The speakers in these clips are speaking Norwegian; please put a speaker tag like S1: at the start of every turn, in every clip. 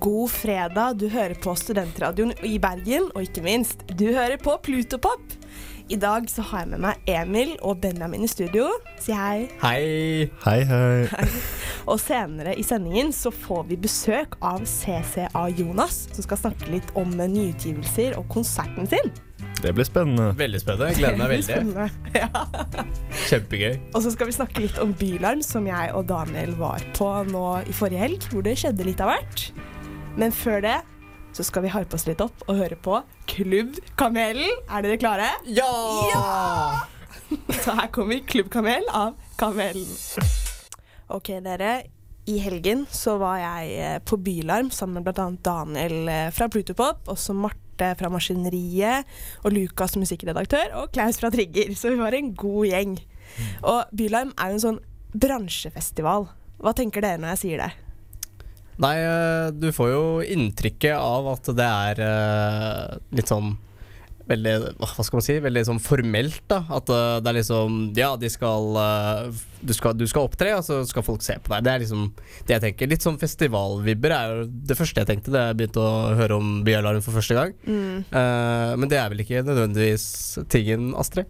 S1: God fredag. Du hører på Studentradioen i Bergen, og ikke minst, du hører på Plutopop. I dag så har jeg med meg Emil og Benjamin i studio. Si hei.
S2: Hei!
S3: Hei, hei.
S1: Og senere i sendingen så får vi besøk av CCA Jonas, som skal snakke litt om eh, nyutgivelser og konserten sin.
S3: Det blir spennende.
S2: Veldig spennende. Jeg Gleder meg veldig.
S1: Spennende. Ja.
S2: Kjempegøy.
S1: Og så skal vi snakke litt om Bylarm, som jeg og Daniel var på nå i forrige helg, hvor det skjedde litt av hvert. Men før det så skal vi harpe oss litt opp og høre på Klubb Kamelen. Er dere klare?
S2: Ja!
S1: Så her kommer Klubb Kamel av Kamelen. Ok, dere. I helgen så var jeg eh, på Bylarm sammen med bl.a. Daniel eh, fra Plutopop, også Marte fra Maskineriet, og Lukas som musikkredaktør, og Klaus fra Trigger. Så vi var en god gjeng. Og Bylarm er jo en sånn bransjefestival. Hva tenker dere når jeg sier det?
S2: Nei, eh, du får jo inntrykket av at det er eh, litt sånn Veldig, hva skal man si, veldig sånn formelt da At eh, det er liksom, ja de skal, eh, du, skal du skal opptre, og så skal folk se på deg Det er liksom det jeg tenker Litt sånn festivalvibber er jo det første jeg tenkte Da jeg begynte å høre om Byalarm for første gang
S1: Mm.
S2: Eh, Men det er vel ikke nødvendigvis tingen, Astrid?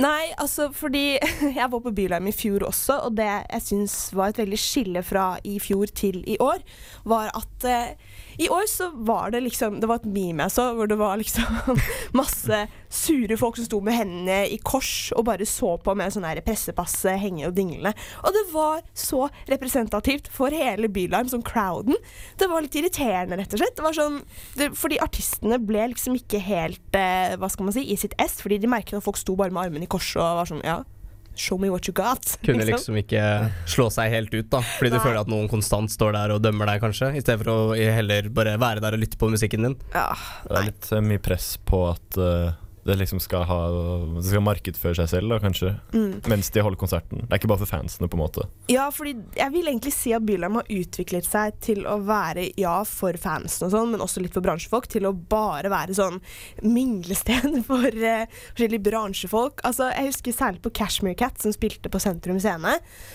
S1: Nei, altså fordi jeg var på Bylarm i fjor også, og det jeg syns var et veldig skille fra i fjor til i år, var at eh, i år så var det liksom Det var et meme jeg så, hvor det var liksom masse sure folk som sto med hendene i kors og bare så på med sånn her pressepasse, henge og dinglende. Og det var så representativt for hele Bylarm, sånn crowden. Det var litt irriterende, rett og slett. Det var sånn, det, fordi artistene ble liksom ikke helt eh, hva skal man si, i sitt ess, fordi de merket at folk sto bare med armene i korset og var sånn ja, show me what you got.
S2: Kunne liksom ikke slå seg helt ut, da. Fordi du
S1: Nei.
S2: føler at noen konstant står der og dømmer deg, kanskje. I stedet for å heller bare være der og lytte på musikken din.
S1: Ja,
S3: Det er litt eh, mye press på at eh, det liksom skal ha Det skal markedsføre seg selv, da, kanskje.
S1: Mm.
S3: Mens de holder konserten. Det er ikke bare for fansene, på en måte.
S1: Ja, fordi jeg vil egentlig si at Bylarm har utviklet seg til å være ja for fansen og sånn, men også litt for bransjefolk, til å bare være sånn minglested for eh, forskjellige bransjefolk. Altså, jeg husker særlig på Cashmere Cat, som spilte på Sentrum Scene.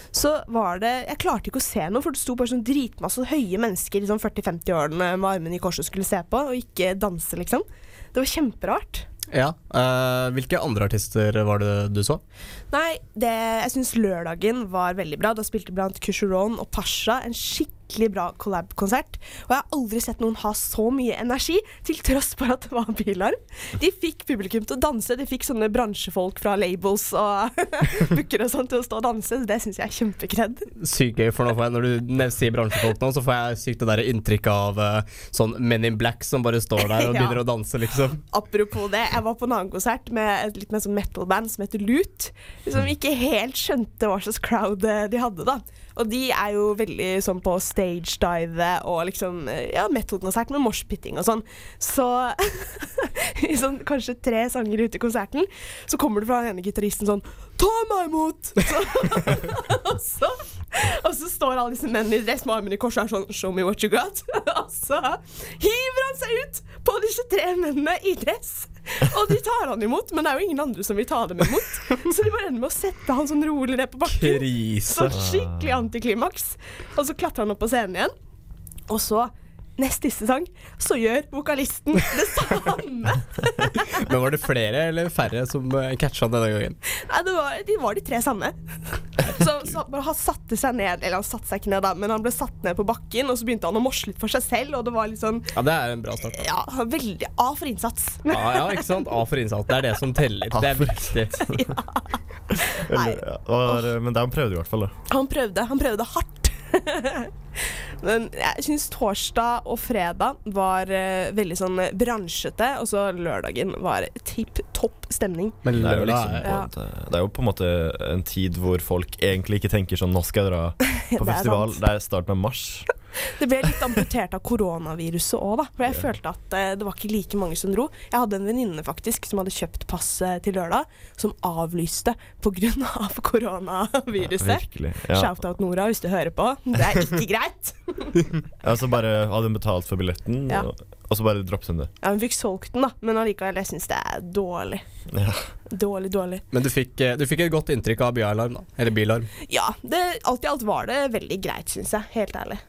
S1: Så var det Jeg klarte ikke å se noe, for det sto bare sånn dritmasse høye mennesker i sånn 40-50-årene med armene i korset og skulle se på, og ikke danse, liksom. Det var kjemperart.
S2: Ja. eh, hvilke andre artister var det du så?
S1: Nei, det, jeg syns lørdagen var veldig bra. Da spilte blant Kusheron og Pasha en skikkelig bra collab-konsert. Og jeg har aldri sett noen ha så mye energi, til tross for at det var bilarm. De fikk publikum til å danse. De fikk sånne bransjefolk fra labels og bookere og sånn til å stå og danse. Så det syns jeg er kjempekred.
S2: Sykt gøy, for nå får jeg, når du nev- sier bransjefolk nå, så får jeg sykt det der inntrykket av eh, sånn Men in Black som bare står der og
S1: Ja.
S2: begynner å danse, liksom.
S1: Apropos det, jeg var på en annen konsert med et litt mer sånn metal-band som heter Lut, som ikke helt skjønte hva slags crowd eh, de hadde, da. Og de er jo veldig sånn på stage-dive og liksom eh, ja, metal-konsert med moshpitting og sånn. Så i sånn kanskje tre sanger ute i konserten, så kommer det fra den ene gitaristen sånn Ta meg imot! Så, og, så, og så står alle disse mennene i dress med armene i kors og er sånn Show me what you got. og så hiver han seg ut på disse tre mennene i dress. Og de tar han imot, men det er jo ingen andre som vil ta dem imot. Så de bare ender med å sette han sånn rolig ned på bakken. Så
S2: Krise.
S1: skikkelig antiklimaks. Og så klatrer han opp på scenen igjen. Og så, nest siste sang, så gjør vokalisten det samme.
S2: Men var det flere eller færre som eh, catcha denne gangen?
S1: Nei, det var, de var de tre samme. Så, så bare han satte seg ned, eller han satte seg ikke ned da, men han ble satt ned på bakken, og så begynte han å morsle litt for seg selv, og det var litt sånn,
S2: Ja, det er en bra start. da.
S1: ja, veldig A for innsats.
S2: Ja, Ah, ja, ikke sant? A for innsats. Det er det som teller. Det er viktig.
S1: Nei.
S3: Eller, ja, og, men de prøvde i hvert fall, da.
S1: Han prøvde, han prøvde hardt. Men jeg syns torsdag og fredag var eh, veldig sånn bransjete, og så lørdagen var tipp topp stemning.
S2: Men
S3: Det er, jo
S2: lørdag
S3: liksom
S2: er
S3: på en, måte- det er jo på en måte en tid hvor folk egentlig ikke tenker sånn Nå skal jeg dra
S1: Det er
S3: på festival. Det er starten av mars.
S1: Det ble litt amputert av koronaviruset òg, da. For jeg følte at eh, det var ikke like mange som dro. Jeg hadde en venninne faktisk som hadde kjøpt pass eh, til lørdag, som avlyste pga. Av koronaviruset.
S3: Virkelig. Ja.
S1: Shout-out Nora hvis du hører på. Det er ikke greit.
S3: Ja, så bare hadde hun betalt for billetten,
S1: Ja.
S3: og, og så bare droppet hun det.
S1: Ja, Hun fikk solgt den, da, men allikevel, jeg syns det er dårlig.
S3: Ja.
S1: Dårlig, dårlig.
S2: Men du fikk, eh, du fikk et godt inntrykk av byalarm, da. Eller bilarm.
S1: Ja, det, alt i alt var det veldig greit, syns jeg. Helt ærlig.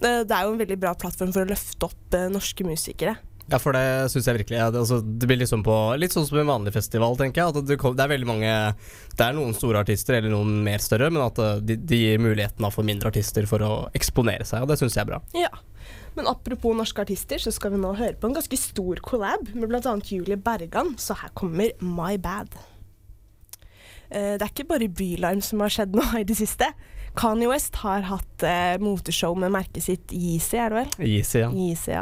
S1: Eh, Det er jo en veldig bra plattform for å løfte opp eh, norske musikere.
S2: Ja, for det syns jeg virkelig. Ja, det, altså, det blir liksom på Litt sånn som en vanlig festival, tenker jeg. At det, kom, det er veldig mange Det er noen store artister, eller noen mer større, men at eh, de, de gir muligheten da for mindre artister for å eksponere seg, og det syns jeg er bra.
S1: Ja. Men apropos norske artister, så skal vi nå høre på en ganske stor collab med bl.a. Julie Bergan, så her kommer My Bad. Eh, Det er ikke bare Bylarm som har skjedd nå i det siste. Kanye West har hatt eh, moteshow med merket sitt Yeezy, er det vel?
S2: Easy, ja.
S1: Yeezy, ja.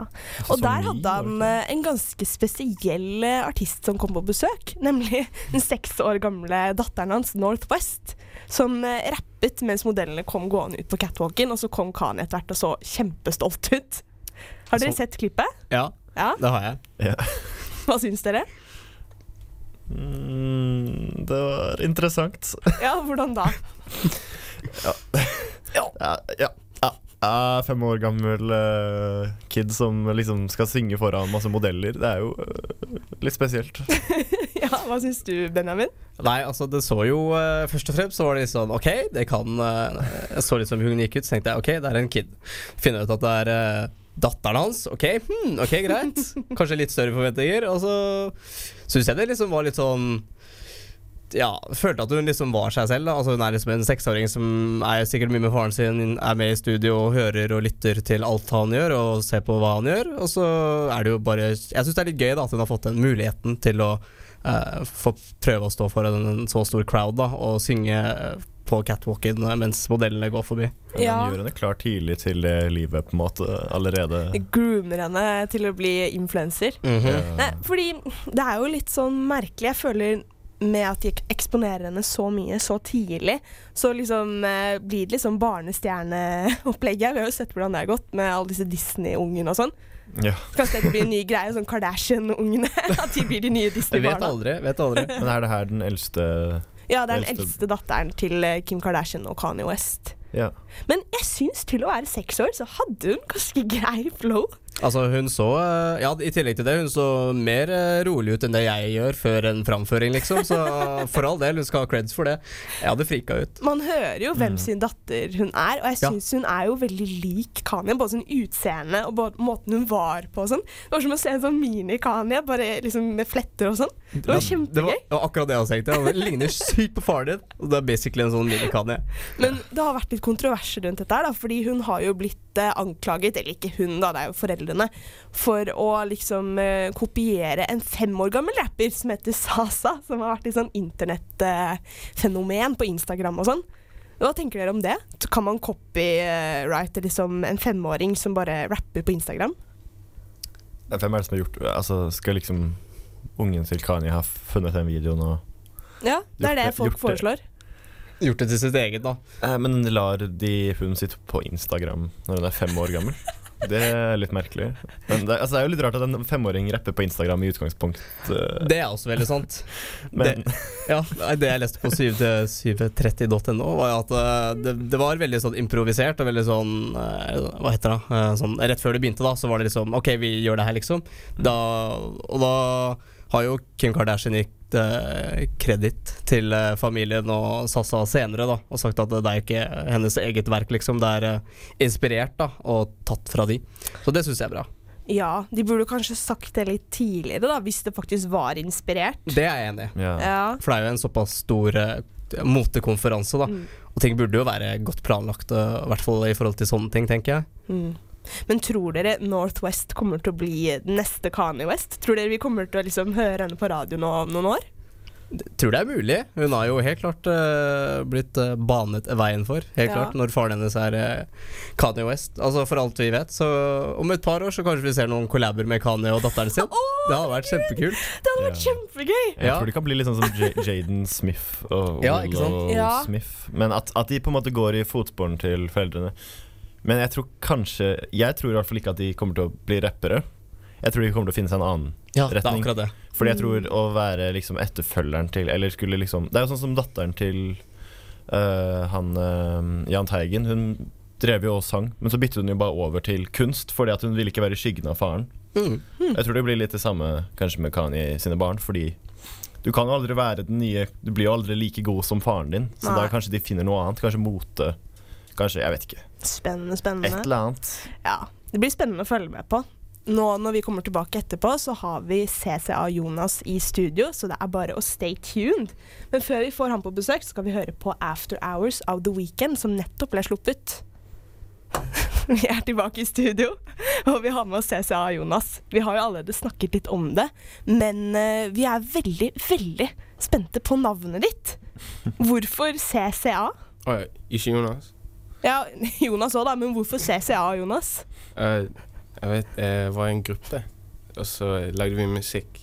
S1: Og der hadde han eh, en ganske spesiell eh, artist som kom på besøk. Nemlig den seks år gamle datteren hans, Northwest, som eh, rappet mens modellene kom gående ut på catwalken, og så kom Kanye etter hvert og så kjempestolt ut. Har dere
S2: Så-
S1: sett klippet?
S2: ja.
S1: Ja,
S2: Det har jeg.
S1: Hva syns dere?
S3: Mm, det var interessant.
S1: Ja, hvordan da?
S3: Ja, Eh, ja, ja. Jeg er fem år gammel eh, kid som liksom skal synge foran masse modeller. Det er jo eh, litt spesielt.
S1: Ja, Hva syns du, Benjamin?
S2: Nei, altså det så jo eh, Først og fremst så var det litt sånn OK, det kan eh, Jeg så litt som hun gikk ut, så tenkte jeg OK, det er en kid. Finner ut at det er eh, datteren hans. OK, hmm, ok, greit. Kanskje litt større forventninger. Og så syns jeg det liksom var litt sånn ja, Følte at hun liksom var seg selv. da Altså Hun er liksom en seksåring som er sikkert mye med faren sin, er med i studio og hører og lytter til alt han gjør, og ser på hva han gjør. Og så er det jo bare Jeg syns det er litt gøy da at hun har fått den muligheten til å eh, få prøve å stå foran en så stor crowd da, og synge eh, på catwalken eh, mens modellene går forbi.
S3: Men
S1: Ja.
S3: Han gjør henne klar tidlig til det livet på en måte allerede.
S1: Groomer henne til å bli influenser?
S2: Mhm.
S3: Eh,
S1: Nei, fordi det er jo litt sånn merkelig. Jeg føler med at de ek- eksponerer henne så mye så tidlig, så liksom eh, blir det liksom barnestjerneopplegget. Vi har jo sett hvordan det har gått med alle disse Disney-ungene og sånn.
S3: ja.
S1: Kanskje dette blir en ny greie, sånn Kardashian-ungene. At de blir de nye
S2: Jeg vet
S1: Disney-barna.
S2: aldri. vet aldri
S3: Men er det her den eldste
S1: Ja, det er den
S3: Eldste-
S1: eldste datteren til eh, Kim Kardashian og Kanye West.
S3: Ja.
S1: Men jeg syns til å være seks år, så hadde hun ganske grei flow.
S2: Altså Hun så eh, Ja, i tillegg til det, hun så mer eh, rolig ut enn det jeg gjør før en framføring, liksom. Så for all del, hun skal ha creds for det. Jeg hadde frika ut.
S1: Man hører jo hvem sin datter hun er, og jeg
S2: Ja.
S1: syns hun er jo veldig lik Kanye. Både sånn utseende og både måten hun var på og sånn. Det var som å se en sånn mini-Kanye, bare liksom med fletter og sånn. Det var
S2: Det var,
S1: kjempegøy.
S2: det var akkurat det jeg også tenkte. Han ligner sykt på faren din. Og det er basically en sånn minikanie.
S1: Men det har vært litt kontroverser rundt dette her, da, fordi hun har jo blitt eh, anklaget, eller ikke hun, da, det er jo foreldrene, for å liksom eh, kopiere en fem år gammel rapper som heter Sasa, som har vært litt sånn internettfenomen på Instagram og sånn. Hva tenker dere om det? Så Kan man copyrighte liksom en femåring som bare rapper på Instagram?
S3: eh, Hvem er det som har gjort Altså, skal liksom ungen til Kanye ha funnet den videoen og
S1: Ja, det er det
S3: Gjort det-
S1: folk
S3: gjort det.
S1: foreslår.
S2: Gjort det til sitt eget, da.
S3: Eh, Men lar de hunden sitt på Instagram når den er fem år gammel? Det er litt merkelig. Men det, altså, det er jo litt rart at en femåring rapper på Instagram i utgangspunkt. eh,
S2: Det er også veldig sant.
S3: Men
S2: Ja, nei, Det jeg leste på 730.no, var jo at eh, det, det var veldig sånn improvisert og veldig sånn eh, Hva heter det? Eh, sånn, rett før det begynte, da, så var det liksom OK, vi gjør det her, liksom. Da, og da har jo Kim Kardashian gitt eh, kreditt til eh, familien og Sassa senere, da, og sagt at det er ikke hennes eget verk, liksom. Det er eh, inspirert da, og tatt fra de. Så det syns jeg er bra.
S1: Ja, de burde kanskje sagt det litt tidligere, da, hvis det faktisk var inspirert.
S2: Det er jeg enig i.
S3: ja.
S1: Ja.
S2: For det er jo en såpass stor eh, motekonferanse, da.
S1: Mm.
S2: Og ting burde jo være godt planlagt, eh, i hvert fall i forhold til sånne ting, tenker jeg.
S1: Mm. Men tror dere Northwest kommer til å bli den neste Kanye West? Tror dere vi kommer til å liksom høre henne på radioen om noen år?
S2: Tror det er mulig. Hun har jo helt klart eh, blitt eh, banet veien for, helt
S1: Ja.
S2: klart, når faren hennes er eh, Kanye West. Altså For alt vi vet, så om et par år så kanskje vi ser noen collaber med Kanye og datteren sin. Det hadde vært kjempekult.
S1: Det hadde vært
S3: Ja.
S1: kjempegøy!
S3: Jeg
S2: Ja.
S3: tror det kan bli litt sånn som J Jaden Smith og
S2: Ja, ikke sant?
S3: Willow
S1: Ja.
S3: Smith. Men at, at de på en måte går i fotsporene til foreldrene. Men jeg tror kanskje Jeg tror i hvert fall ikke at de kommer til å bli rappere. Jeg tror de kommer til å finne seg en annen.
S2: Ja, det er
S3: Retning.
S2: akkurat det.
S3: Fordi jeg tror å være liksom etterfølgeren til Eller skulle liksom Det er jo sånn som datteren til øh, han øh, Jahn Teigen. Hun drev jo og sang, men så byttet hun jo bare over til kunst fordi at hun ville ikke være i skyggen av faren.
S2: Mm.
S3: Jeg tror det blir litt det samme kanskje med Kanye sine barn, fordi du kan jo aldri være den nye Du blir jo aldri like god som faren din, så
S1: Nei.
S3: da kanskje de finner noe annet. Kanskje mote Kanskje, jeg vet ikke.
S1: Spennende,
S3: Et
S1: spennende.
S3: eller annet.
S1: Ja, Det blir spennende å følge med på. Nå når vi kommer tilbake etterpå, så har vi CCA Jonas i studio, så det er bare å stay tuned. Men før vi får han på besøk, skal vi høre på After Hours of The Weekend, som nettopp ble sluppet. Vi er tilbake i studio, og vi har med oss CCA Jonas. Vi har jo allerede snakket litt om det, men eh, vi er veldig, veldig spente på navnet ditt. Hvorfor CCA?
S4: Å ja, ikke Jonas.
S1: Ja, Jonas òg, da, men hvorfor CCA, Jonas?
S4: Eh, jeg vet Jeg var i en gruppe, og så lagde vi musikk.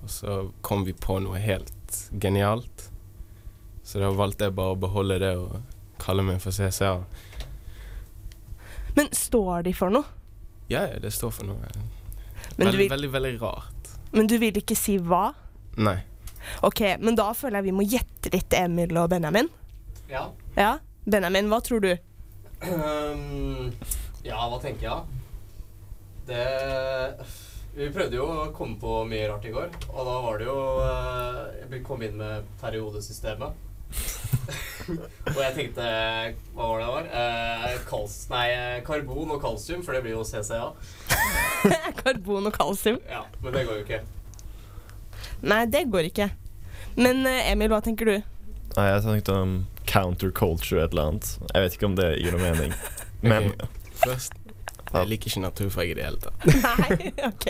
S4: Og så kom vi på noe helt genialt. Så da valgte jeg bare å beholde det og kalle meg for CCA.
S1: Men står de for noe?
S4: Ja, ja, det står for noe
S1: Men du,
S4: veldig,
S1: vil,
S4: veldig, veldig rart.
S1: men du vil ikke si hva?
S4: Nei.
S1: Ok, men da føler jeg vi må gjette litt, Emil og Benjamin.
S2: Ja.
S1: Ja, Benjamin, hva tror du?
S2: Ehm, ja, hva tenker jeg? Det Vi prøvde jo å komme på mye rart i går, og da var det jo eh, Jeg kom inn med periodesystemet. og jeg tenkte Hva var det det var? Eh, kals, nei, karbon og kalsium, for det blir jo CCA.
S1: Karbon og kalsium?
S2: Ja, Men det går jo ikke.
S1: Nei, det går ikke. Men eh, Emil, hva tenker du?
S3: Nei, jeg tenkte om counterculture et eller annet. Jeg vet ikke om det gir noe mening. Men
S4: Ok, Først Jeg liker ikke naturfag i det hele tatt.
S1: Nei, ok.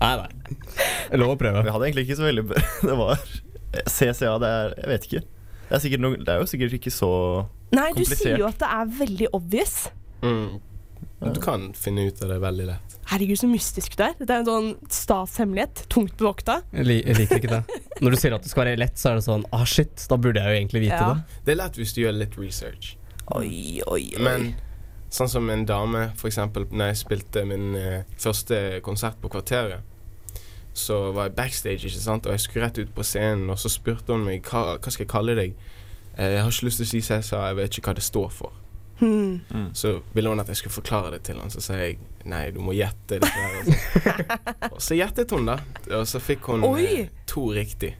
S2: Nei, nei. Lov å prøve.
S3: vi hadde egentlig ikke så veldig b- Det var CCA, det er Jeg vet ikke. Det er, sikkert noe, det er jo sikkert ikke så
S1: Nei, du
S3: Komplisert.
S1: sier jo at det er veldig obvious.
S4: Mm. Du kan finne ut av det veldig lett.
S1: Herregud, så mystisk det er. Det er en sånn statshemmelighet. Tungt bevokta.
S2: Jeg, liker ikke det. Når du sier at det skal være lett, så er det sånn Ah, shit, da burde jeg jo egentlig
S1: vite Ja. det.
S4: Det er lett hvis du gjør litt research.
S1: Oi, oi, oi.
S4: Men sånn som en dame, for eksempel, når jeg spilte min eh, første konsert på Kvarteret, så var jeg backstage, ikke sant, og jeg skulle rett ut på scenen, og så spurte hun meg hva, hva skal jeg kalle deg. Eh, Jeg har ikke lyst til å si CSA, jeg vet ikke hva det står for.
S1: Hmm.
S4: Så ville hun at jeg skulle forklare det til han, så sa jeg nei, du må gjette. det der, og sånn. Og så gjettet hun, da. Og så fikk hun
S1: Oi!
S4: eh, to riktig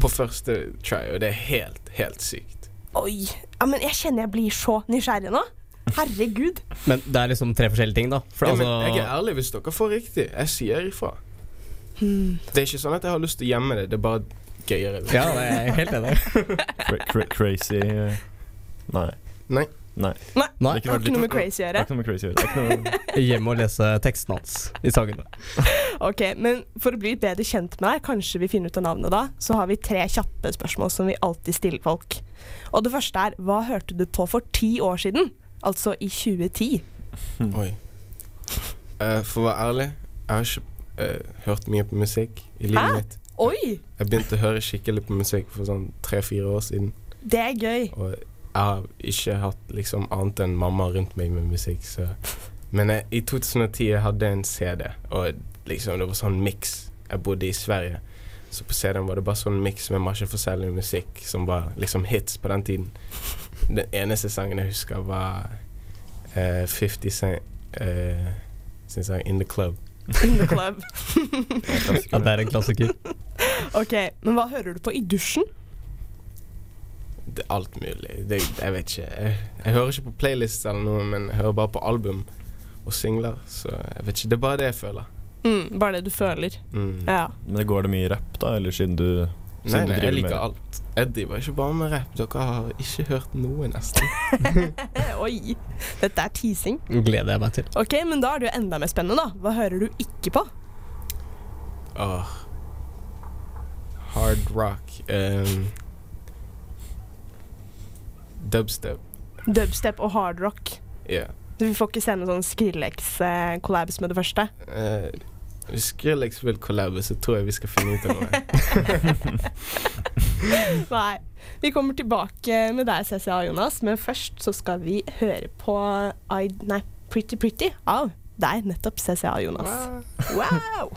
S4: på første try, og det er helt, helt sykt.
S1: Oi. Ja, men jeg kjenner jeg blir så nysgjerrig nå. Herregud.
S2: Men det er liksom tre forskjellige ting, da. For altså-
S4: ja, men jeg er ærlig hvis dere får riktig. Jeg sier ifra. Det er ikke sånn at jeg har lyst til å gjemme det, det er bare gøyere. liksom.
S2: Ja, det er jeg helt enig.
S3: cra cra crazy eh, Nei.
S4: Nei.
S3: Nei.
S1: Nei, det
S2: Nei.
S1: har ikke noe med crazy å gjøre.
S3: Det er ikke noe med crazy å gjøre. Det er ikke noe-
S2: Hjem og lese teksten hans i sangene.
S1: Ok, Men for å bli litt bedre kjent med deg, kanskje vi finner ut av navnet da, så har vi tre kjappe spørsmål som vi alltid stiller folk. Og det første er hva hørte du på for ti år siden? Altså i 2010.
S4: Oi. Eh, for å være ærlig, jeg har ikke eh, hørt mye på musikk i livet
S1: Hæ?
S4: mitt.
S1: Oi!
S4: Jeg begynte å høre skikkelig på musikk for sånn tre-fire år siden.
S1: Det er gøy.
S4: Og jeg har ikke hatt liksom annet enn mamma rundt meg med musikk, så Men jeg, i 2010 jeg hadde en CD, og liksom det var sånn miks. Jeg bodde i Sverige, så på CD-en var det bare sånn miks med masse forskjellig musikk som var liksom hits på den tiden. Den eneste sangen jeg husker, var eh, 50 Cent eh, sin sang In The Club.
S1: In the club.
S2: Ja, det er en klassiker.
S1: Ok, Men hva hører du på i dusjen?
S4: Det er alt mulig. Det, jeg vet ikke. Jeg, jeg hører ikke på playlists eller noe, men jeg hører bare på album og singler. Så jeg vet ikke. Det er bare det jeg føler.
S1: Mm, bare det du føler.
S4: Mm.
S1: Ja.
S3: Men det går det mye rapp, da? Eller siden du
S4: Nei,
S3: siden du
S4: nei,
S3: driver
S4: jeg
S3: med
S4: liker
S3: det.
S4: alt. Jeg driver ikke bare med rapp. Dere har ikke hørt noe, nesten.
S1: Eh, Oi. Dette er teasing.
S2: Gleder jeg meg til.
S1: Ok, Men da er det jo enda mer spennende, da. Hva hører du ikke på?
S4: Åh.
S3: Ah.
S4: Hard rock. ehm, dubstep.
S1: Dubstep og hardrock.
S4: Ja.
S1: Du får ikke se noen sånn Skrillex-kollabs med det første.
S4: Eh, hvis Skrillex vil collabe, så tror jeg vi skal finne ut av noe.
S1: Nei. Vi kommer tilbake med deg, CCA Jonas, men først så skal vi høre på I, nei, Pretty Pretty av deg, nettopp CCA Jonas. Wow!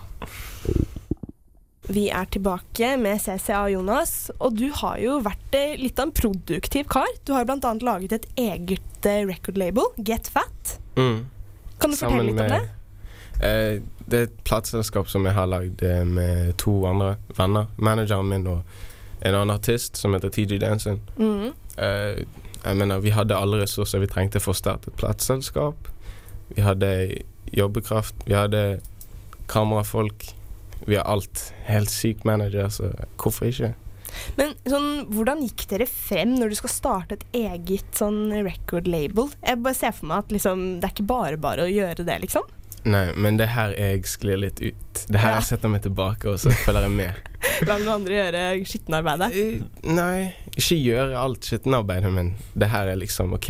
S1: Vi er tilbake med CCA Jonas, og du har jo vært eh, litt av en produktiv kar. Du har bl.a. laget et eget eh, record-label, Get Fat.
S4: Mm.
S1: Kan du fortelle litt om det?
S4: Eh, det er et plateselskap som jeg har lagd eh, med to andre venner. Manageren min og en annen artist som heter TG Dansen.
S1: Mhm.
S4: Eh, Jeg mener, vi hadde alle ressurser vi trengte for å starte et plateselskap. Vi hadde jobbekraft, vi hadde kamerafolk. Vi har alt. Helt syk manager, så hvorfor ikke?
S1: Men sånn, hvordan gikk dere frem når du skal starte et eget sånn record-label? Jeg bare ser for meg at liksom, det er ikke bare bare å gjøre det, liksom.
S4: Nei, men det her er jeg sklir litt ut. Det her
S1: Ja.
S4: jeg setter meg tilbake, og så følger jeg med.
S1: La noen andre gjøre skittenarbeidet.
S4: Eh, Nei, ikke gjøre alt skittenarbeidet, men det her er liksom OK,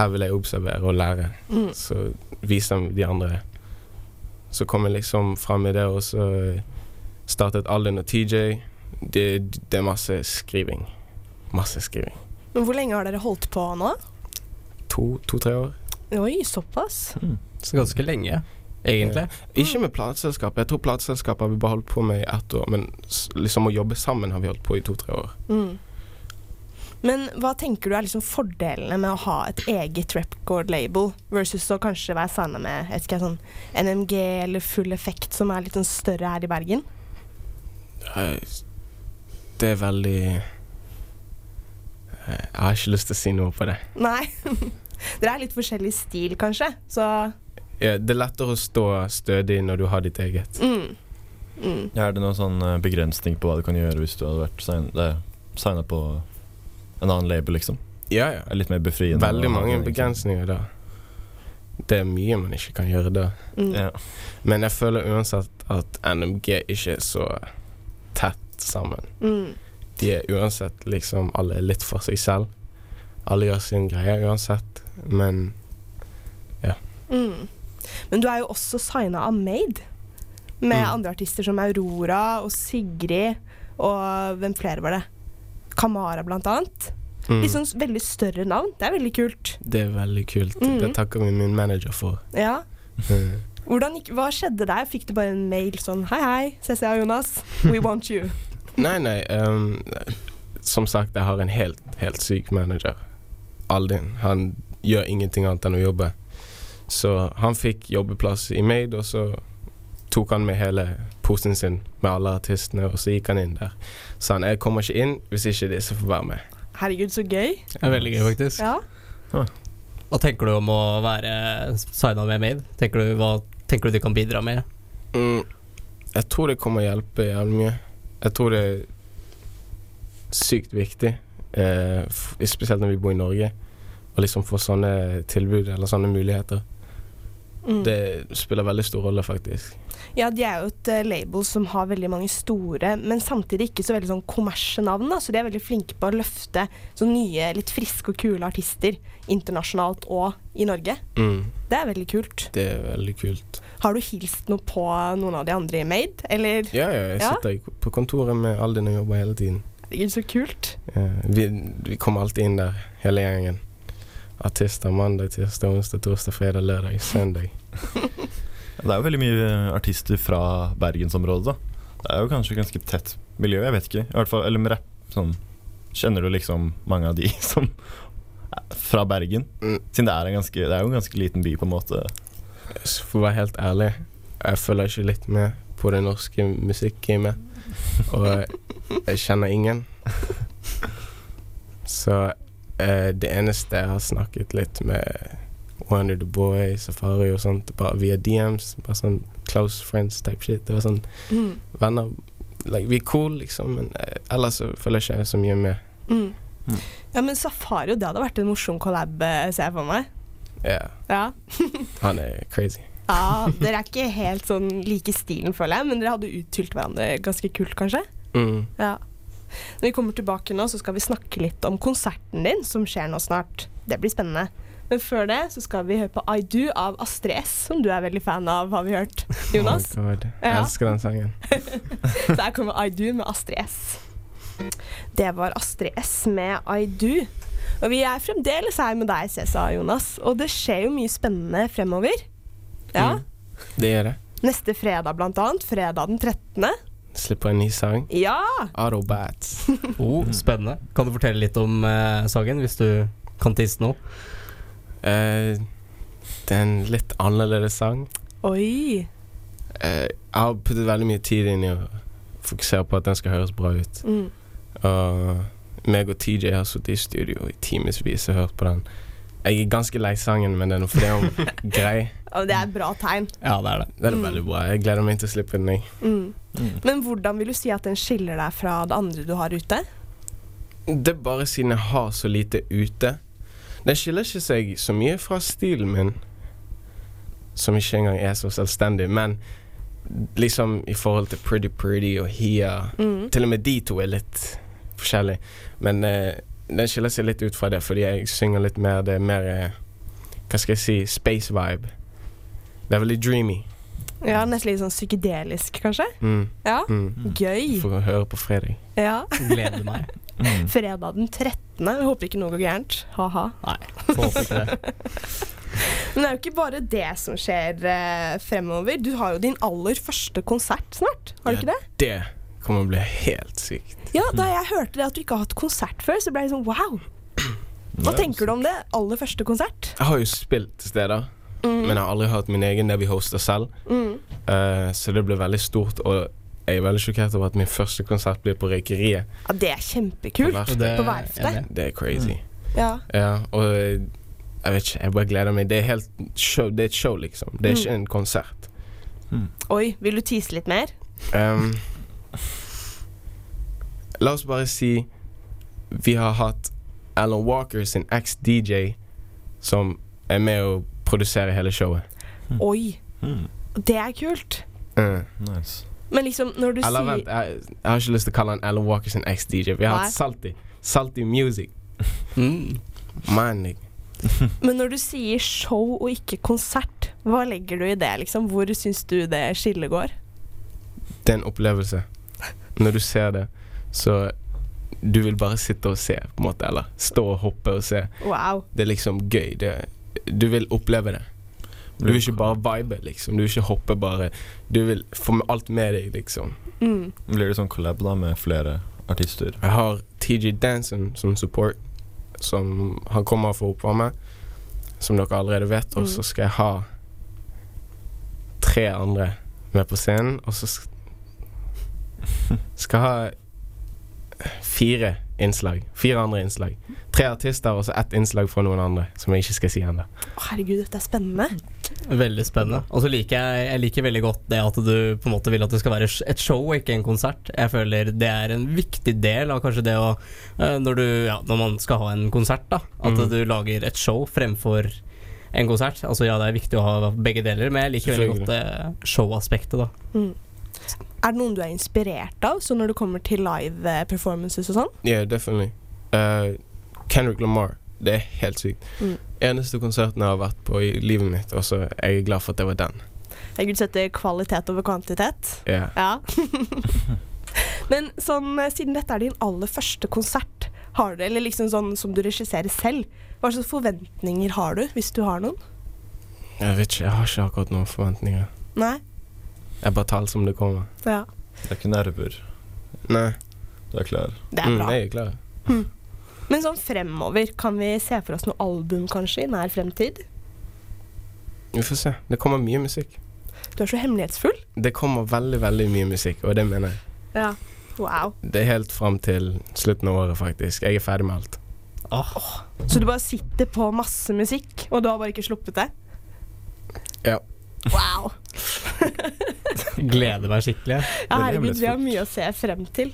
S4: her vil jeg observere og lære.
S1: Mm.
S4: Så viser jeg de andre. Så kom jeg liksom fram i det, og så startet Alden og TJ. Det, det er masse skriving. Masse skriving.
S1: Men hvor lenge har dere holdt på nå?
S4: To-tre år.
S1: Oi, såpass.
S2: Så ganske lenge, egentlig.
S4: Ikke med plateselskapet. Jeg tror plateselskapet har vi bare holdt på med i ett år, men s- liksom å jobbe sammen har vi holdt på i to-tre år.
S1: Mm. Men hva tenker du er liksom fordelene med å ha et eget record-label versus å kanskje være sammen med jeg vet ikke, sånn NMG eller Full Effect, som er litt sånn større her i Bergen?
S4: Eh, Det er veldig eh, Jeg har ikke lyst til å si noe på det.
S1: Nei. Dere er litt forskjellig stil, kanskje. Så
S4: Ja, det er lettere å stå stødig når du har ditt eget.
S1: mm. Mm.
S3: Ja, Er det noen sånn eh, begrensning på hva du kan gjøre hvis du hadde vært sign- eh, signet på en annen label, liksom?
S4: Ja, ja.
S3: Er Litt mer befriende. å ha
S4: Veldig
S3: liksom.
S4: mange
S3: den, ikke sant?
S4: begrensninger da. Det er mye man ikke kan gjøre da.
S1: Mm.
S3: Ja.
S4: Men jeg føler uansett at NMG ikke er så tett sammen.
S1: Mm.
S4: De er uansett liksom Alle er litt for seg selv. Alle gjør sin greie uansett, men
S1: Mm. Men du er jo også signa av Made, med
S4: Mm.
S1: andre artister som Aurora og Sigrid og hvem flere var det? Kamara, blant annet.
S4: mm,
S1: Litt sånn s- veldig større navn. Det er veldig kult.
S4: det er veldig kult.
S1: Mm.
S4: Det takker vi min manager for.
S1: Ja.
S4: Mm.
S1: Hvordan, gikk- hva skjedde der? Fikk du bare en mail sånn Hei, hei, CCA og Jonas. We want you.
S4: Nei, nei. ehm, som sagt, jeg har en helt, helt syk manager. Aldin. Han gjør ingenting annet enn å jobbe. Så han fikk jobbeplass i Made, og så tok han med hele posen sin med alle artistene, og så gikk han inn der. Sa han jeg kommer ikke inn hvis ikke disse får være med.
S1: Herregud, så gøy.
S2: Det er veldig gøy, faktisk.
S1: Ja.
S2: Hva tenker du om å være signa med Made? Tenker du, hva tenker du de kan bidra med?
S4: Mm, jeg tror det kommer å hjelpe jævlig mye. Jeg tror det er sykt viktig, eh, f spesielt når vi bor i Norge, å liksom få sånne tilbud eller sånne muligheter.
S1: Mm.
S4: Det spiller veldig stor rolle, faktisk.
S1: ja, de er jo et eh, label som har veldig mange store, men samtidig ikke så veldig sånn kommersienavn. da, Så de er veldig flinke på å løfte så nye, litt friske og kule artister internasjonalt og i Norge.
S4: Mm.
S1: Det er veldig kult.
S4: Det er veldig kult.
S1: Har du hilst noe på noen av de andre i Made, eller?
S4: Ja, ja, jeg
S1: Ja.
S4: sitter i- på kontoret med alle dine jobber hele tiden.
S1: Herregud, så kult.
S4: Eh, Vi, vi kommer alltid inn der, hele gjengen. Artister mandag, tirsdag, onsdag, torsdag, fredag, lørdag, søndag.
S3: Det er jo veldig mye eh, artister fra bergensområdet, da. Det er jo kanskje ganske tett miljø, jeg vet ikke. I hvert fall, eller med rapp, sånn Kjenner du liksom mange av de som er fra Bergen?
S4: Mm.
S3: Siden det er, en ganske, det er jo en ganske liten by, på en måte.
S4: Så for å være helt ærlig, jeg følger ikke litt med på det norske musikkgamet. Og jeg kjenner ingen. Så eh, det eneste jeg har snakket litt med Wonder the Boy, Safari og sånt, bare via DMs, bare sånn close friends type shit. Det var sånn
S1: Mm.
S4: venner like, Vi er cool, liksom, men eh, ellers så følger jeg ikke så mye med.
S1: Mm.
S3: Mm.
S1: Ja, men Safari, det hadde vært en morsom collab, eh, ser jeg for meg.
S4: Ja,
S1: Ja.
S4: han er crazy.
S1: ja, Dere er ikke helt sånn like i stilen, føler jeg, men dere hadde utfylt hverandre ganske kult, kanskje.
S4: Mm.
S1: Ja. Når vi kommer tilbake nå, så skal vi snakke litt om konserten din, som skjer nå snart. Det blir spennende. Men før det så skal vi høre på I Do av Astrid S, som du er veldig fan av, har vi hørt. Jonas?
S4: Oh my God. Jeg
S1: Ja.
S4: elsker den sangen.
S1: Der kommer I Do med Astrid S. Det var Astrid S med I Do. Og vi er fremdeles her med deg, CSA, Jonas. Og det skjer jo mye spennende fremover. Ja.
S4: Mm. Det er det.
S1: Neste fredag, blant annet. Fredag den 13.
S4: Slipper en ny sang.
S1: Ja!
S4: Autobats.
S2: Oh, spennende. Kan du fortelle litt om eh, sangen, hvis du kan tisse nå?
S4: Eh, det er en litt annerledes sang.
S1: Oi.
S4: Eh, jeg har puttet veldig mye tid inn i å fokusere på at den skal høres bra ut.
S1: Mm.
S4: Og meg og TJ har sittet i studio i timevis og hørt på den. Jeg er ganske lei sangen, men den er fordi hun grei.
S1: Og det er et bra tegn.
S2: Ja, det er det.
S4: Den er
S1: Mm.
S4: veldig bra. Jeg gleder meg til å slippe den. Jeg.
S1: Mm.
S3: Mm.
S1: Men hvordan vil du si at den skiller deg fra det andre du har ute?
S4: Det er bare siden jeg har så lite ute. Den skiller ikke seg så mye fra stilen min, som ikke engang er så selvstendig, men liksom i forhold til Pretty Pretty og Hia
S1: Mm.
S4: Til og med de to er litt forskjellige. Men eh, den skiller seg litt ut fra det, fordi jeg synger litt mer Det er mer eh, Hva skal jeg si Space vibe. Det er veldig dreamy.
S1: Ja, Nesten litt sånn psykedelisk, kanskje?
S4: Mm,
S1: Ja.
S4: mm.
S1: Gøy.
S4: Får høre på fredag.
S1: Ja.
S2: Gleder meg.
S3: Mm.
S1: Fredag den 13. Jeg håper ikke noe går gærent. Ha-ha.
S2: Forhåpentlig.
S1: Men det er jo ikke bare det som skjer eh, fremover. Du har jo din aller første konsert snart. Har du ikke det?
S4: Det kommer å bli helt sykt.
S1: Ja, Da jeg hørte det at du ikke har hatt konsert før, så ble jeg sånn wow. Hva
S3: Ja.
S1: tenker du om det? Aller første konsert?
S4: Jeg har jo spilt steder, men jeg har aldri hørt min egen det vi hoster selv.
S1: Mm.
S4: Eh, så det ble veldig stort, og jeg er veldig sjokkert over at min første konsert blir på Røykeriet.
S1: Ja, det er kjempekult.
S4: På
S2: Og det-
S1: På verftet?
S2: enig.
S4: Det er Mm. crazy.
S1: Ja.
S4: Ja, og eh, jeg vet ikke, jeg bare gleder meg. Det er, helt show, det er et show, liksom. Det er ikke en konsert.
S1: Oi, vil du tise litt mer?
S4: Ehm, la oss bare si vi har hatt Alan Walker sin eks-DJ som er med å produsere hele showet.
S1: Oi,
S3: Mm.
S1: det er kult.
S4: Eh,
S3: Nice.
S1: Men liksom, når du
S4: Eller
S1: sier
S4: vent, jeg, jeg har ikke lyst til å kalle han Alan Walker sin eks-DJ. Vi har hatt Salty. Salty Music.
S2: Mm.
S4: Man, nigga.
S1: Men når du sier show og ikke konsert, hva legger du i det, liksom? Hvor syns du det skillet går?
S4: det er en opplevelse. Når du ser det, så Du vil bare sitte og se, på en måte. Eller stå og hoppe og se.
S1: Wow.
S4: Det er liksom gøy. Det, du vil oppleve det. Du vil ikke bare vibe, liksom. Du vil ikke hoppe, bare. Du vil få med alt med deg, liksom.
S1: Mm.
S3: Blir det sånn collab da med flere artister?
S4: Jeg har TG Danson som support. Som han kommer for å oppvarme, som dere allerede vet. Og så skal jeg ha tre andre med på scenen. Og så sk- skal jeg ha fire innslag. Fire andre innslag. Tre artister og så ett innslag fra noen andre, som jeg ikke skal si ennå.
S1: Å, herregud, dette er spennende.
S2: Veldig spennende. Og så liker jeg, jeg liker veldig godt det at du på en måte vil at det skal være sh- et show og ikke en konsert. Jeg føler det er en viktig del av kanskje det å eh, Når, du, ja, når man skal ha en konsert, da. At
S4: Mhm.
S2: du lager et show fremfor en konsert. Altså ja, det er viktig å ha begge deler, men jeg liker veldig
S4: Selvfølgelig.
S2: godt det showaspektet, da.
S1: Er det noen du er inspirert av, så når det kommer til live eh, performances og sånn?
S4: Yeah, definitely. Eh, Kendrick Lamar. Det er helt sykt.
S1: Mm.
S4: Eneste konserten jeg har vært på i livet mitt, og så er jeg glad for at det var den.
S1: Herregud, setter kvalitet over kvantitet.
S4: Yeah.
S1: Ja. Men sånn, eh, siden dette er din aller første konsert, har du, eller liksom sånn som du regisserer selv, hva slags forventninger har du, hvis du har noen?
S4: Jeg vet ikke, jeg har ikke akkurat noen forventninger.
S1: Nei?
S4: Jeg bare tar alt som det kommer.
S1: Ja.
S3: Det er ikke nerver.
S4: Nei,
S3: Du er klar.
S1: Det er
S4: mm,
S1: bra.
S4: jeg er klar.
S1: Men sånn fremover, kan vi se for oss noe album kanskje i nær fremtid?
S4: Vi får se. Det kommer mye musikk.
S1: Du er så hemmelighetsfull.
S4: Det kommer veldig, veldig mye musikk, og det mener jeg.
S1: Ja. Wow.
S4: Det er helt fram til slutten av året, faktisk. Jeg er ferdig med alt.
S2: Åh,
S1: Så du bare sitter på masse musikk, og du har bare ikke sluppet det?
S4: Ja.
S1: Wow.
S2: gleder meg skikkelig.
S1: Ja,
S3: Veldig
S1: herregud, vi har
S3: hemmelighetsfullt.
S1: mye å se frem til.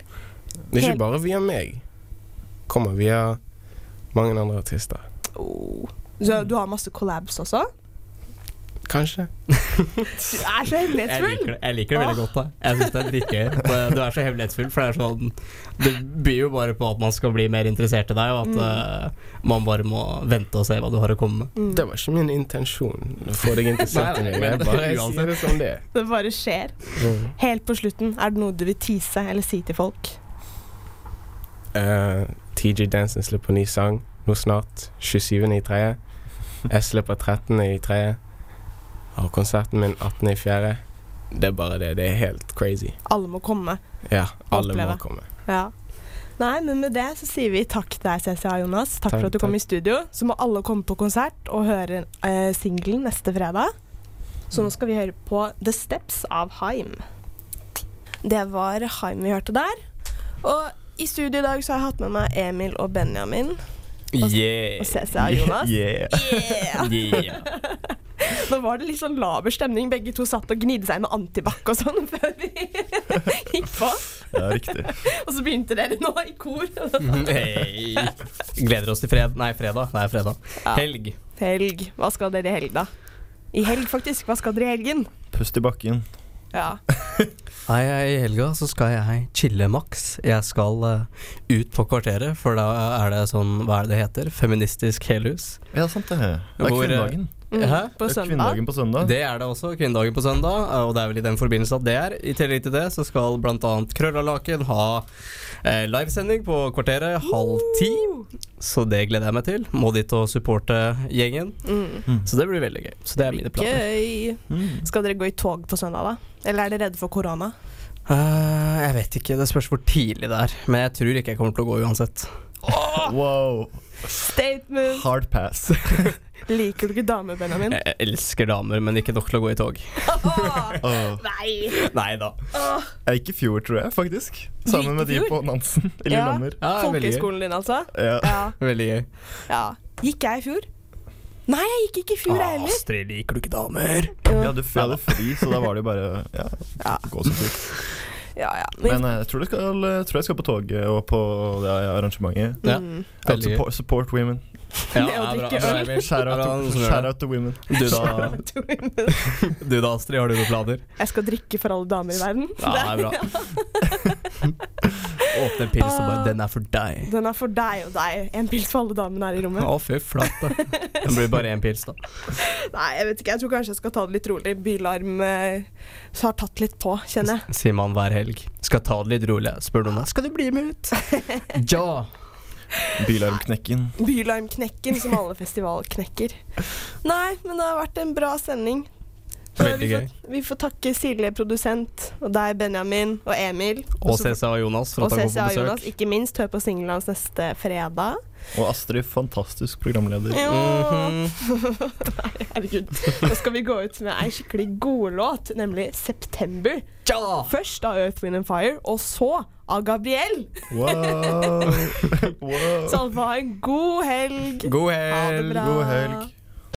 S4: Det er
S1: Helt-
S4: ikke bare via meg. Kommer via mange andre artister.
S1: Oh. Så du har masse collabs også?
S4: Kanskje.
S1: Du er så
S2: Jeg
S1: hemmelighetsfull!
S2: liker det, jeg liker det
S1: Ah.
S2: veldig godt. da Jeg syns det er dritgøy. Det- Du er så hemmelighetsfull, for det er sånn Det byr jo bare på at man skal bli mer interessert i deg, og at
S1: Mm.
S2: eh, man bare må vente og se hva du har å komme med.
S1: Mm.
S4: Det var ikke min intensjon å få deg interessert i
S2: Nei,
S4: meg.
S2: men
S4: Jeg bare
S2: uansett.
S4: sier det som det er.
S1: Det bare skjer.
S4: Mm.
S1: Helt på slutten, er det noe du vil tease eller si til folk?
S4: Eh, TJ Dansen slipper ny sang nå snart. 27. i tredje. Jeg slipper 13. i tredje. Har konserten min 18. i fjerde. Det er bare det. Det er helt crazy.
S1: Alle må komme.
S4: Ja, alle
S1: Oppleve.
S4: må komme.
S1: Ja. Nei, men med det så sier vi takk til deg, CCA Jonas. Takk,
S4: Takk,
S1: for at du kom
S4: takk.
S1: i studio. Så må alle komme på konsert og høre eh, singelen neste fredag. Så nå skal vi høre på The Steps av Haim. Det var Haim vi hørte der. Og i studio i dag så har jeg hatt med meg Emil og Benjamin
S2: Yeah.
S1: og CCA Jonas.
S3: Yeah.
S1: Yeah.
S2: yeah.
S1: Nå var det litt sånn laber stemning. Begge to satt og gnidde seg med antibac og sånn før vi gikk på.
S3: Ja, riktig.
S1: Og så begynte dere nå i kor.
S2: Hei. Gleder oss til fred Nei, fredag. Nei, fredag.
S1: Ja.
S2: Helg.
S1: Helg. Hva skal dere i helg, da? I helg, faktisk. Hva skal dere i helgen?
S3: Pust i bakken.
S1: Ja.
S2: Nei, jeg- I helga så skal jeg chille maks. Jeg skal eh, ut på kvarteret, for da er det sånn, hva er det det heter, feministisk helhus.
S3: Ja, sant det. Det er
S2: Hvor, eh,
S3: kvinnedagen.
S1: Mm,
S2: Hæ?
S1: På
S3: Det er
S1: søndag.
S3: kvinnedagen på søndag.
S2: Det er det også, kvinnedagen på søndag, Eh, og det er vel i den forbindelse at det er. I tillegg til det så skal bl.a. Krølla Laken ha eh, livesending på kvarteret halv ti. Så det gleder jeg meg til. Må dit og supporte gjengen.
S1: Mm.
S2: Så det blir veldig gøy. Så det er mine planer.
S1: Gøy.
S3: Mm.
S1: Skal dere gå i tog på søndag, da? Eller er dere redde for korona?
S2: Eh, jeg vet ikke, det spørs hvor tidlig det er. Men jeg tror ikke jeg kommer til å gå uansett.
S3: Wow.
S1: Statement!
S3: Hard pass.
S1: Liker du ikke damer, Benjamin?
S2: Jeg elsker damer, men ikke nok til å gå i tog.
S1: Åh,
S3: Åh.
S1: nei!
S2: Nei da.
S1: Åh,
S3: Ah, Jeg gikk i fjor, tror jeg, faktisk. Sammen med de
S1: Gikk i fjor?
S3: på Nansen i
S1: Ja.
S3: Lillehammer.
S2: Ja, veldig gøy.
S1: Folkehøyskolen din, altså?
S3: Ja.
S1: Ja,
S2: Veldig gøy.
S1: ja. Gikk jeg i fjor? Nei, jeg gikk ikke i fjor, jeg heller.
S2: Ah, Astrid, liker du ikke damer?
S3: Vi hadde, vi hadde fri, så da var det jo bare ja,
S1: Ja.
S3: gå som tur.
S1: Ja, ja.
S3: Men eh, jeg tror, det skal, jeg tror jeg skal på toget og på det arrangementet.
S2: Ja.
S1: Mm.
S3: Out
S2: Veldig gøy.
S3: support, support women.
S1: Det
S2: Ja,
S1: å
S2: ja, bra,
S1: drikke
S2: bra,
S1: øl.
S2: Emil.
S3: Shout out,
S2: Bra,
S3: to,
S2: sånn gjør
S3: shout
S2: det.
S3: out to women.
S2: Du da, du da, Astrid, har du noen planer?
S1: Jeg skal drikke for alle damer i verden.
S2: Ja, det er bra. Åpne en pils og bare 'Den er for deg'.
S1: Den er for deg og deg. En pils for alle damene her i rommet.
S2: Å, fy flate. Det blir bare én pils, da.
S1: Nei, jeg vet ikke. Jeg tror kanskje jeg skal ta det litt rolig. Bylarm eh, har tatt litt på, kjenner jeg.
S2: Sier man hver helg. Skal ta det litt rolig. Spør noen deg 'Skal du bli med ut?' Ja.
S3: Bilarmknekken.
S1: Bylarmknekken, som alle festivalknekker. Nei, men det har vært en bra sending. Så
S2: Veldig
S1: vi får,
S2: gøy.
S1: vi får takke Silje, produsent, og deg, Benjamin, og Emil.
S2: Og
S1: så-
S2: CCA Jonas
S1: og
S2: for at han
S1: CCA
S2: går på
S1: Jonas,
S2: besøk.
S1: ikke minst. Hør på singelen hans neste fredag.
S3: Og Astrid, fantastisk programleder.
S1: Jo.
S2: Mhm.
S1: Nei, herregud. Nå skal vi gå ut med ei skikkelig god låt, nemlig 'September'.
S2: Ja!
S1: Først av Earth, Wind and Fire, og så av Gabriel.
S3: Wow. wow.
S1: Så alle får ha en god helg.
S2: God
S1: Ha det
S2: helg.
S1: bra.
S3: God helg.